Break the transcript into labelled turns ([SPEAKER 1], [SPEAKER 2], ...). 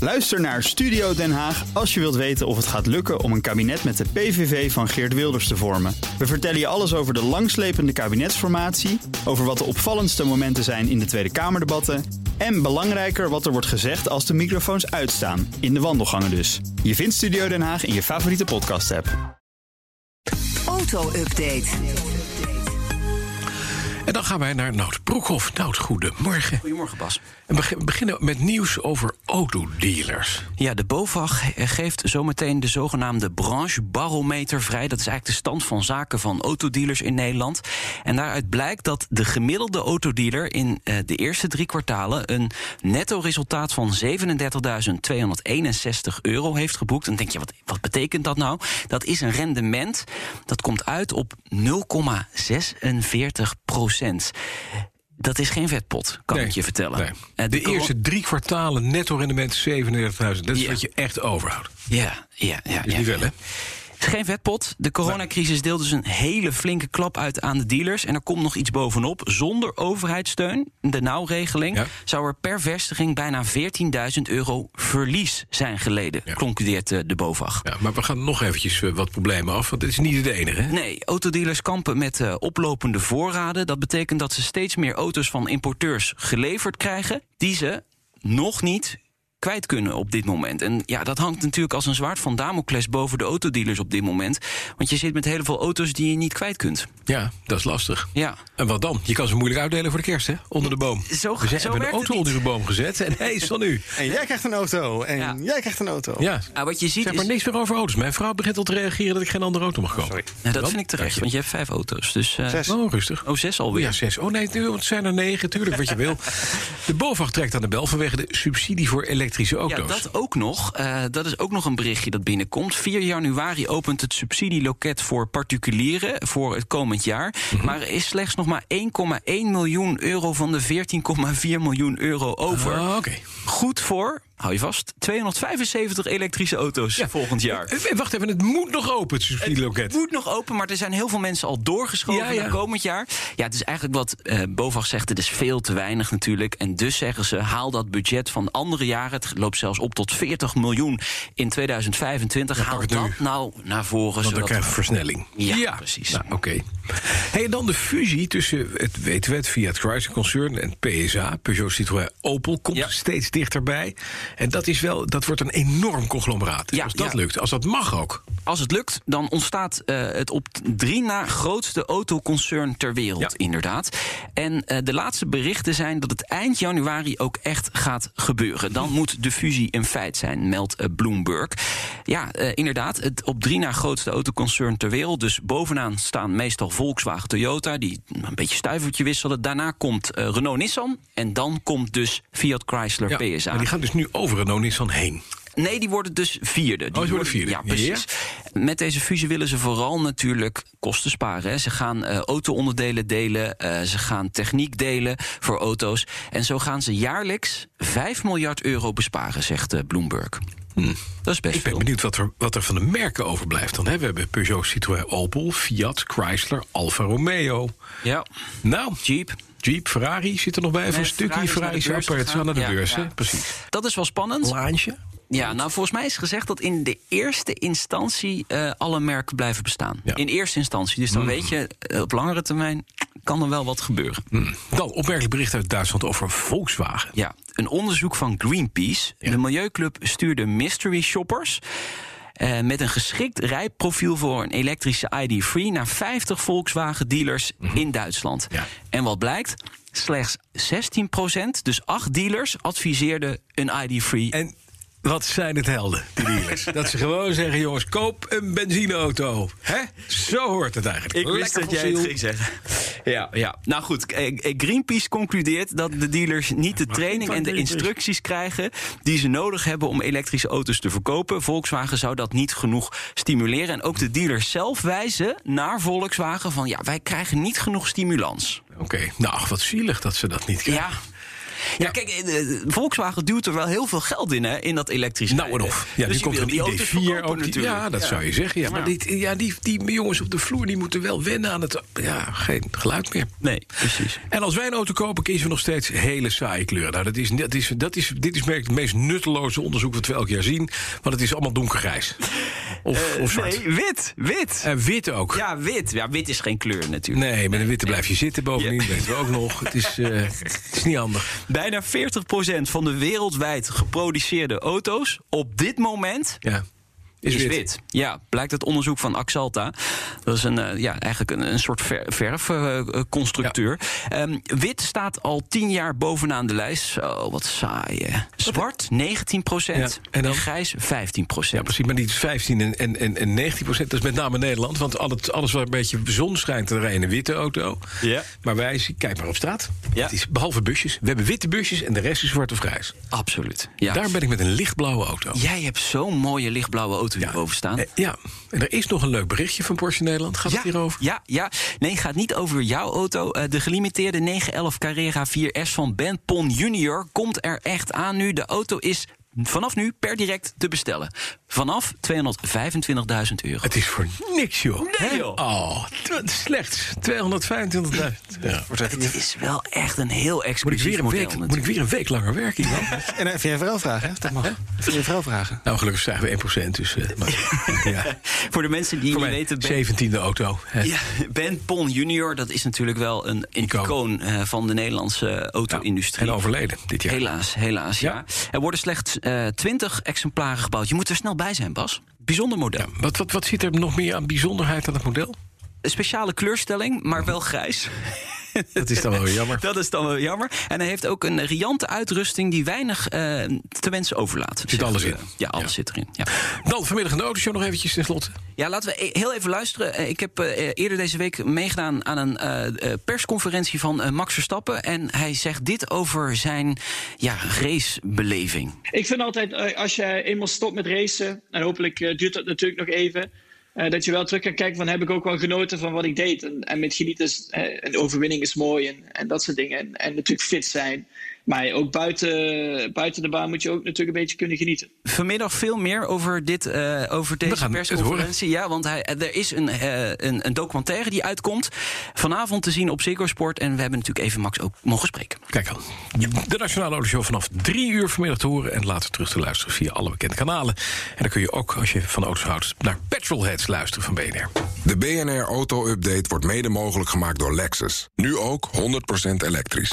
[SPEAKER 1] Luister naar Studio Den Haag als je wilt weten of het gaat lukken om een kabinet met de PVV van Geert Wilders te vormen. We vertellen je alles over de langslepende kabinetsformatie, over wat de opvallendste momenten zijn in de Tweede Kamerdebatten en belangrijker wat er wordt gezegd als de microfoons uitstaan, in de wandelgangen dus. Je vindt Studio Den Haag in je favoriete podcast-app.
[SPEAKER 2] Auto-update.
[SPEAKER 3] En dan gaan wij naar Nout Broekhoff. Nout, goedemorgen.
[SPEAKER 4] Goedemorgen, Bas.
[SPEAKER 3] En we beginnen met nieuws over autodealers.
[SPEAKER 4] Ja, de BOVAG eh, geeft zometeen de zogenaamde branchebarometer vrij. Dat is eigenlijk de stand van zaken van autodealers in Nederland. En daaruit blijkt dat de gemiddelde autodealer in eh, de eerste drie kwartalen een netto resultaat van 37.261 euro heeft geboekt. En dan denk je, wat, wat betekent dat nou? Dat is een rendement dat komt uit op 0,46 procent. Dat is geen vetpot, kan
[SPEAKER 3] Nee,
[SPEAKER 4] ik je vertellen.
[SPEAKER 3] nee.
[SPEAKER 4] Eh,
[SPEAKER 3] de
[SPEAKER 4] coro-
[SPEAKER 3] eerste drie kwartalen netto rendement 37.000. Dat is
[SPEAKER 4] Ja.
[SPEAKER 3] wat je echt overhoudt.
[SPEAKER 4] Ja, ja, ja.
[SPEAKER 3] Is
[SPEAKER 4] ja.
[SPEAKER 3] niet wel, hè?
[SPEAKER 4] Het is geen vetpot. De coronacrisis deelt dus een hele flinke klap uit aan de dealers. En er komt nog iets bovenop. Zonder overheidssteun, de nauwregeling,
[SPEAKER 3] Ja.
[SPEAKER 4] zou er per vestiging bijna 14.000 euro verlies zijn geleden,
[SPEAKER 3] Ja.
[SPEAKER 4] concludeert eh, de BOVAG.
[SPEAKER 3] Ja, maar we gaan nog eventjes eh, wat problemen af, want dit is niet de enige. Hè?
[SPEAKER 4] Nee, autodealers kampen met eh, oplopende voorraden. Dat betekent dat ze steeds meer auto's van importeurs geleverd krijgen... die ze nog niet kwijt kunnen op dit moment. En ja, dat hangt natuurlijk als een zwaard van Damocles... boven de autodealers op dit moment. Want je zit met heel veel auto's die je niet kwijt kunt.
[SPEAKER 3] Ja, dat is lastig.
[SPEAKER 4] Ja.
[SPEAKER 3] En wat dan? Je kan ze moeilijk uitdelen voor de kerst, hè? Onder de boom.
[SPEAKER 4] Zo-
[SPEAKER 3] we
[SPEAKER 4] zo
[SPEAKER 3] hebben een
[SPEAKER 4] werkt het
[SPEAKER 3] auto
[SPEAKER 4] niet.
[SPEAKER 3] onder de boom gezet en hij is van nu.
[SPEAKER 5] En jij krijgt een auto. En
[SPEAKER 4] Ja.
[SPEAKER 5] jij krijgt een auto.
[SPEAKER 3] Ja.
[SPEAKER 4] Ah, wat je ziet
[SPEAKER 3] Zeg maar
[SPEAKER 4] is-
[SPEAKER 3] niks meer over auto's. Mijn vrouw begint al te reageren dat ik geen andere auto mag kopen.
[SPEAKER 4] Ja, Nou, dat
[SPEAKER 3] Wat?
[SPEAKER 4] vind ik terecht, want je hebt vijf auto's. Dus, eh,
[SPEAKER 5] Zes.
[SPEAKER 3] Oh, rustig.
[SPEAKER 4] Oh, zes
[SPEAKER 3] Oh
[SPEAKER 4] alweer.
[SPEAKER 3] Ja, zes. Oh nee, nu- want het zijn er negen, tuurlijk, wat je wil. De BOVAG trekt aan de bel vanwege de subsidie voor elektrische auto's.
[SPEAKER 4] Ja, dat ook nog. Eh, dat is ook nog een berichtje dat binnenkomt. 4 januari opent het subsidieloket voor particulieren voor het komend jaar. Maar er is slechts nog maar 1,1 miljoen euro van de 14,4 miljoen euro over.
[SPEAKER 3] Ah, Oké.
[SPEAKER 4] Goed voor, hou je vast, 275 elektrische auto's
[SPEAKER 3] Ja.
[SPEAKER 4] volgend jaar.
[SPEAKER 3] Eh, eh, Wacht even, het moet nog open, het subsidieloket.
[SPEAKER 4] Het moet nog open, maar er zijn heel veel mensen al doorgeschoven
[SPEAKER 3] Ja, ja.
[SPEAKER 4] naar komend jaar. Ja, het is eigenlijk wat eh BOVAG zegt, het is veel te weinig natuurlijk. En dus zeggen ze, haal dat budget van andere jaren. Het loopt zelfs op tot 40 miljoen in 2025. haal
[SPEAKER 3] pak
[SPEAKER 4] dat
[SPEAKER 3] het nu.
[SPEAKER 4] nou naar voren.
[SPEAKER 3] Want dan
[SPEAKER 4] zodat
[SPEAKER 3] krijg je versnelling.
[SPEAKER 4] Ja, precies.
[SPEAKER 3] Nou, Oké. Hey, en dan de fusie tussen het weten we het Fiat Chrysler Concern en PSA, Peugeot Citroën Opel, komt
[SPEAKER 4] Ja.
[SPEAKER 3] steeds dichterbij. En dat is wel, dat wordt een enorm conglomeraat. Dus
[SPEAKER 4] Ja,
[SPEAKER 3] als dat
[SPEAKER 4] ja.
[SPEAKER 3] lukt, als dat mag ook.
[SPEAKER 4] Als het lukt, dan ontstaat eh, het op drie na grootste autoconcern ter wereld,
[SPEAKER 3] Ja.
[SPEAKER 4] inderdaad. En eh, de laatste berichten zijn dat het eind januari ook echt gaat gebeuren. Dan moet de fusie een feit zijn, meldt eh, Bloomberg. Ja, eh, inderdaad, het op drie na grootste autoconcern ter wereld. Dus bovenaan staan meestal Volkswagen, Toyota, die een beetje stuivertje wisselen. Daarna komt eh, Renault-Nissan en dan komt dus Fiat Chrysler
[SPEAKER 3] Ja,
[SPEAKER 4] PSA.
[SPEAKER 3] maar die gaan dus nu over Renault Nissan heen.
[SPEAKER 4] Nee, die worden dus vierde. Die
[SPEAKER 3] Oh, worden vierde.
[SPEAKER 4] Ja, precies. Met deze fusie willen ze vooral natuurlijk kosten sparen. Hè. Ze gaan eh auto-onderdelen delen, eh, ze gaan techniek delen voor auto's. En zo gaan ze jaarlijks 5 miljard euro besparen, zegt eh, Bloomberg. Dat is best
[SPEAKER 3] Hm. Ik ben
[SPEAKER 4] veel.
[SPEAKER 3] benieuwd wat er, wat er van de merken overblijft dan. Hè? We hebben Peugeot, Citroën, Opel, Fiat, Chrysler, Alfa Romeo.
[SPEAKER 4] Ja,
[SPEAKER 3] Nou,
[SPEAKER 4] Jeep.
[SPEAKER 3] Jeep, Ferrari zit er nog bij. Even een stukje Ferrari is apart. Ze gaan naar de beurs, hè? Precies.
[SPEAKER 4] Dat is wel spannend.
[SPEAKER 3] Laantje.
[SPEAKER 4] Ja, nou volgens mij is gezegd dat in de eerste instantie eh, alle merken blijven bestaan.
[SPEAKER 3] Ja. Hm.
[SPEAKER 4] In eerste instantie. Dus dan weet je, eh, op langere termijn kan er wel wat gebeuren.
[SPEAKER 3] Hmm. Dan opmerkelijk bericht uit Duitsland over Volkswagen.
[SPEAKER 4] Ja, een onderzoek van Greenpeace. De Milieuclub stuurde mystery shoppers. eh, met een geschikt rijprofiel voor een elektrische ID3 naar 50 Volkswagen-dealers in Duitsland.
[SPEAKER 3] Ja.
[SPEAKER 4] En wat blijkt? Slechts 16%, dus 8 dealers, adviseerden een ID3.
[SPEAKER 3] En wat zijn het helden, die dealers. dat ze gewoon zeggen, jongens, koop een benzineauto. Hè? Zo hoort het eigenlijk.
[SPEAKER 4] Ik wist dat jij het
[SPEAKER 3] fossiel.
[SPEAKER 4] ging zeggen. Ja, ja. Nou goed, eh, eh, Greenpeace concludeert dat de dealers niet de training en de instructies krijgen die ze nodig hebben om elektrische auto's te verkopen. Volkswagen zou dat niet genoeg stimuleren. En ook de dealers zelf wijzen naar Volkswagen van ja, wij krijgen niet genoeg stimulans.
[SPEAKER 3] Oké, nou, ach, wat zielig dat ze dat niet krijgen.
[SPEAKER 4] Ja. Ja, kijk, eh, eh, Volkswagen duwt er wel heel veel geld in, hè, in dat elektrisch
[SPEAKER 3] Nou en
[SPEAKER 4] rijden.
[SPEAKER 3] of. Ja,
[SPEAKER 4] dus
[SPEAKER 3] nu
[SPEAKER 4] je
[SPEAKER 3] komt
[SPEAKER 4] wil
[SPEAKER 3] er
[SPEAKER 4] die
[SPEAKER 3] een
[SPEAKER 4] auto's
[SPEAKER 3] ID4
[SPEAKER 4] verkopen
[SPEAKER 3] ook. die-
[SPEAKER 4] natuurlijk.
[SPEAKER 3] ja, dat zou je zeggen. Ja, maar
[SPEAKER 4] Ja.
[SPEAKER 3] die, ja, die, die jongens op de vloer die moeten wel wennen aan het... Ja, geen geluid meer.
[SPEAKER 4] Nee, precies.
[SPEAKER 3] En als wij een auto kopen, kiezen we nog steeds hele saaie kleuren. Nou, dat is, dat is, dat is, dit is merk het meest nutteloze onderzoek wat we elk jaar zien. Want het is allemaal donkergrijs. Of, of zwart.
[SPEAKER 4] Eh, Nee, wit, wit.
[SPEAKER 3] En wit ook.
[SPEAKER 4] Ja, wit. Ja, wit is geen kleur natuurlijk.
[SPEAKER 3] Nee, met een witte blijf je zitten bovendien.
[SPEAKER 4] Ja.
[SPEAKER 3] Weten we ook nog. Het is, eh, het is niet handig.
[SPEAKER 4] Bijna 40% van de wereldwijd geproduceerde auto's op dit moment
[SPEAKER 3] Ja.
[SPEAKER 4] is, wit. Ja, blijkt uit onderzoek van Axalta. Dat is een, eh, ja, eigenlijk een, een soort verfconstructeur. Ehm, wit staat al 10 jaar bovenaan de lijst. Zo, wat saai. hè. Zwart 19
[SPEAKER 3] Ja, en
[SPEAKER 4] en,
[SPEAKER 3] dan?
[SPEAKER 4] grijs 15
[SPEAKER 3] Ja, precies. Maar die 15 en, en- en, en 19 procent, dat is met name Nederland. Want al het- alles waar een beetje zon schijnt, daar rijdt een witte auto.
[SPEAKER 1] Ja.
[SPEAKER 3] Maar wij, zien- kijk maar op straat.
[SPEAKER 4] Ja.
[SPEAKER 3] Het is, behalve busjes. We hebben witte busjes en de rest is zwart of grijs.
[SPEAKER 4] Absoluut. Ja.
[SPEAKER 3] Daar ben ik met een lichtblauwe auto.
[SPEAKER 4] Jij hebt zo'n mooie lichtblauwe auto hierboven staan.
[SPEAKER 3] Eh, ja. En er is nog een leuk berichtje van Porsche Nederland. Gaat het hierover?
[SPEAKER 4] Ja, ja. Nee, gaat niet over jouw auto. Eh, de gelimiteerde 911 Carrera 4S van Ben Pon Junior komt er echt aan nu. De auto is vanaf nu per direct te bestellen. Vanaf 225.000 euro.
[SPEAKER 3] Het is voor niks, joh.
[SPEAKER 4] Nee,
[SPEAKER 3] Hè?
[SPEAKER 4] joh.
[SPEAKER 3] Oh, tw- slechts 225.000. Ja.
[SPEAKER 4] Het is wel echt een heel
[SPEAKER 3] Moet ik,
[SPEAKER 4] exclusief
[SPEAKER 3] weer een
[SPEAKER 4] model.
[SPEAKER 3] week, moet ik
[SPEAKER 4] natuurlijk.
[SPEAKER 3] weer een week langer werken, Ivan?
[SPEAKER 5] En eh, even je vrouw vragen, hè? Dat mag. Even je vrouw vragen.
[SPEAKER 3] nou, gelukkig zijn we 1%. Dus, eh, maar- ja.
[SPEAKER 4] Voor de mensen die
[SPEAKER 3] Voor
[SPEAKER 4] niet
[SPEAKER 3] mijn
[SPEAKER 4] weten... Ben-
[SPEAKER 3] 17e auto. hè.
[SPEAKER 4] Ja, ben Pon Junior, dat is natuurlijk wel een
[SPEAKER 3] Icoon.
[SPEAKER 4] icoon eh, van de Nederlandse auto-industrie.
[SPEAKER 3] En overleden dit jaar.
[SPEAKER 4] Helaas, helaas, ja.
[SPEAKER 3] Ja.
[SPEAKER 4] Er worden slechts eh 20 exemplaren gebouwd. Je moet er snel bij zijn, Bas. Bijzonder model.
[SPEAKER 3] Wat, wat, wat zit er nog meer aan bijzonderheid aan het model?
[SPEAKER 4] Een speciale kleurstelling, maar wel grijs.
[SPEAKER 3] Dat is dan wel weer jammer.
[SPEAKER 4] Dat is dan wel jammer. En hij heeft ook een riante uitrusting die weinig eh, te wensen overlaat. Zegt,
[SPEAKER 3] alles in?
[SPEAKER 4] eh, Ja, alles zit erin. Ja.
[SPEAKER 3] Dan vanmiddag in de autoshow nog eventjes tenslotte.
[SPEAKER 4] ja, laten we e- heel even luisteren. Eh, Ik heb eh, eerder deze week meegedaan aan een eh, eh, persconferentie van eh, Max Verstappen. En hij zegt dit over zijn ja, racebeleving.
[SPEAKER 2] Ik vind altijd, eh, als je eenmaal stopt met racen, en hopelijk eh, duurt dat natuurlijk nog even, eh, dat je wel terug kan kijken van heb ik ook wel genoten van wat ik deed. En, en met genieten is, eh, een overwinning is mooi en, en dat soort dingen. En, en natuurlijk fit zijn. Maar ook buiten, buiten de baan moet je ook natuurlijk een beetje kunnen genieten.
[SPEAKER 4] Vanmiddag veel meer over, dit, eh, over deze
[SPEAKER 3] gaan het
[SPEAKER 4] persconferentie. Ja, want hij, er is een, eh, een, een documentaire die uitkomt. Vanavond te zien op Ziggo Sport. En we hebben natuurlijk even Max ook mogen spreken.
[SPEAKER 3] Kijk dan. De Nationale Autoshow vanaf drie uur vanmiddag te horen... en later terug te luisteren via alle bekende kanalen. En dan kun je ook, als je van auto's houdt... naar Petrolheads luisteren van BNR.
[SPEAKER 6] De BNR Auto Update wordt mede mogelijk gemaakt door Lexus. Nu ook 100% elektrisch.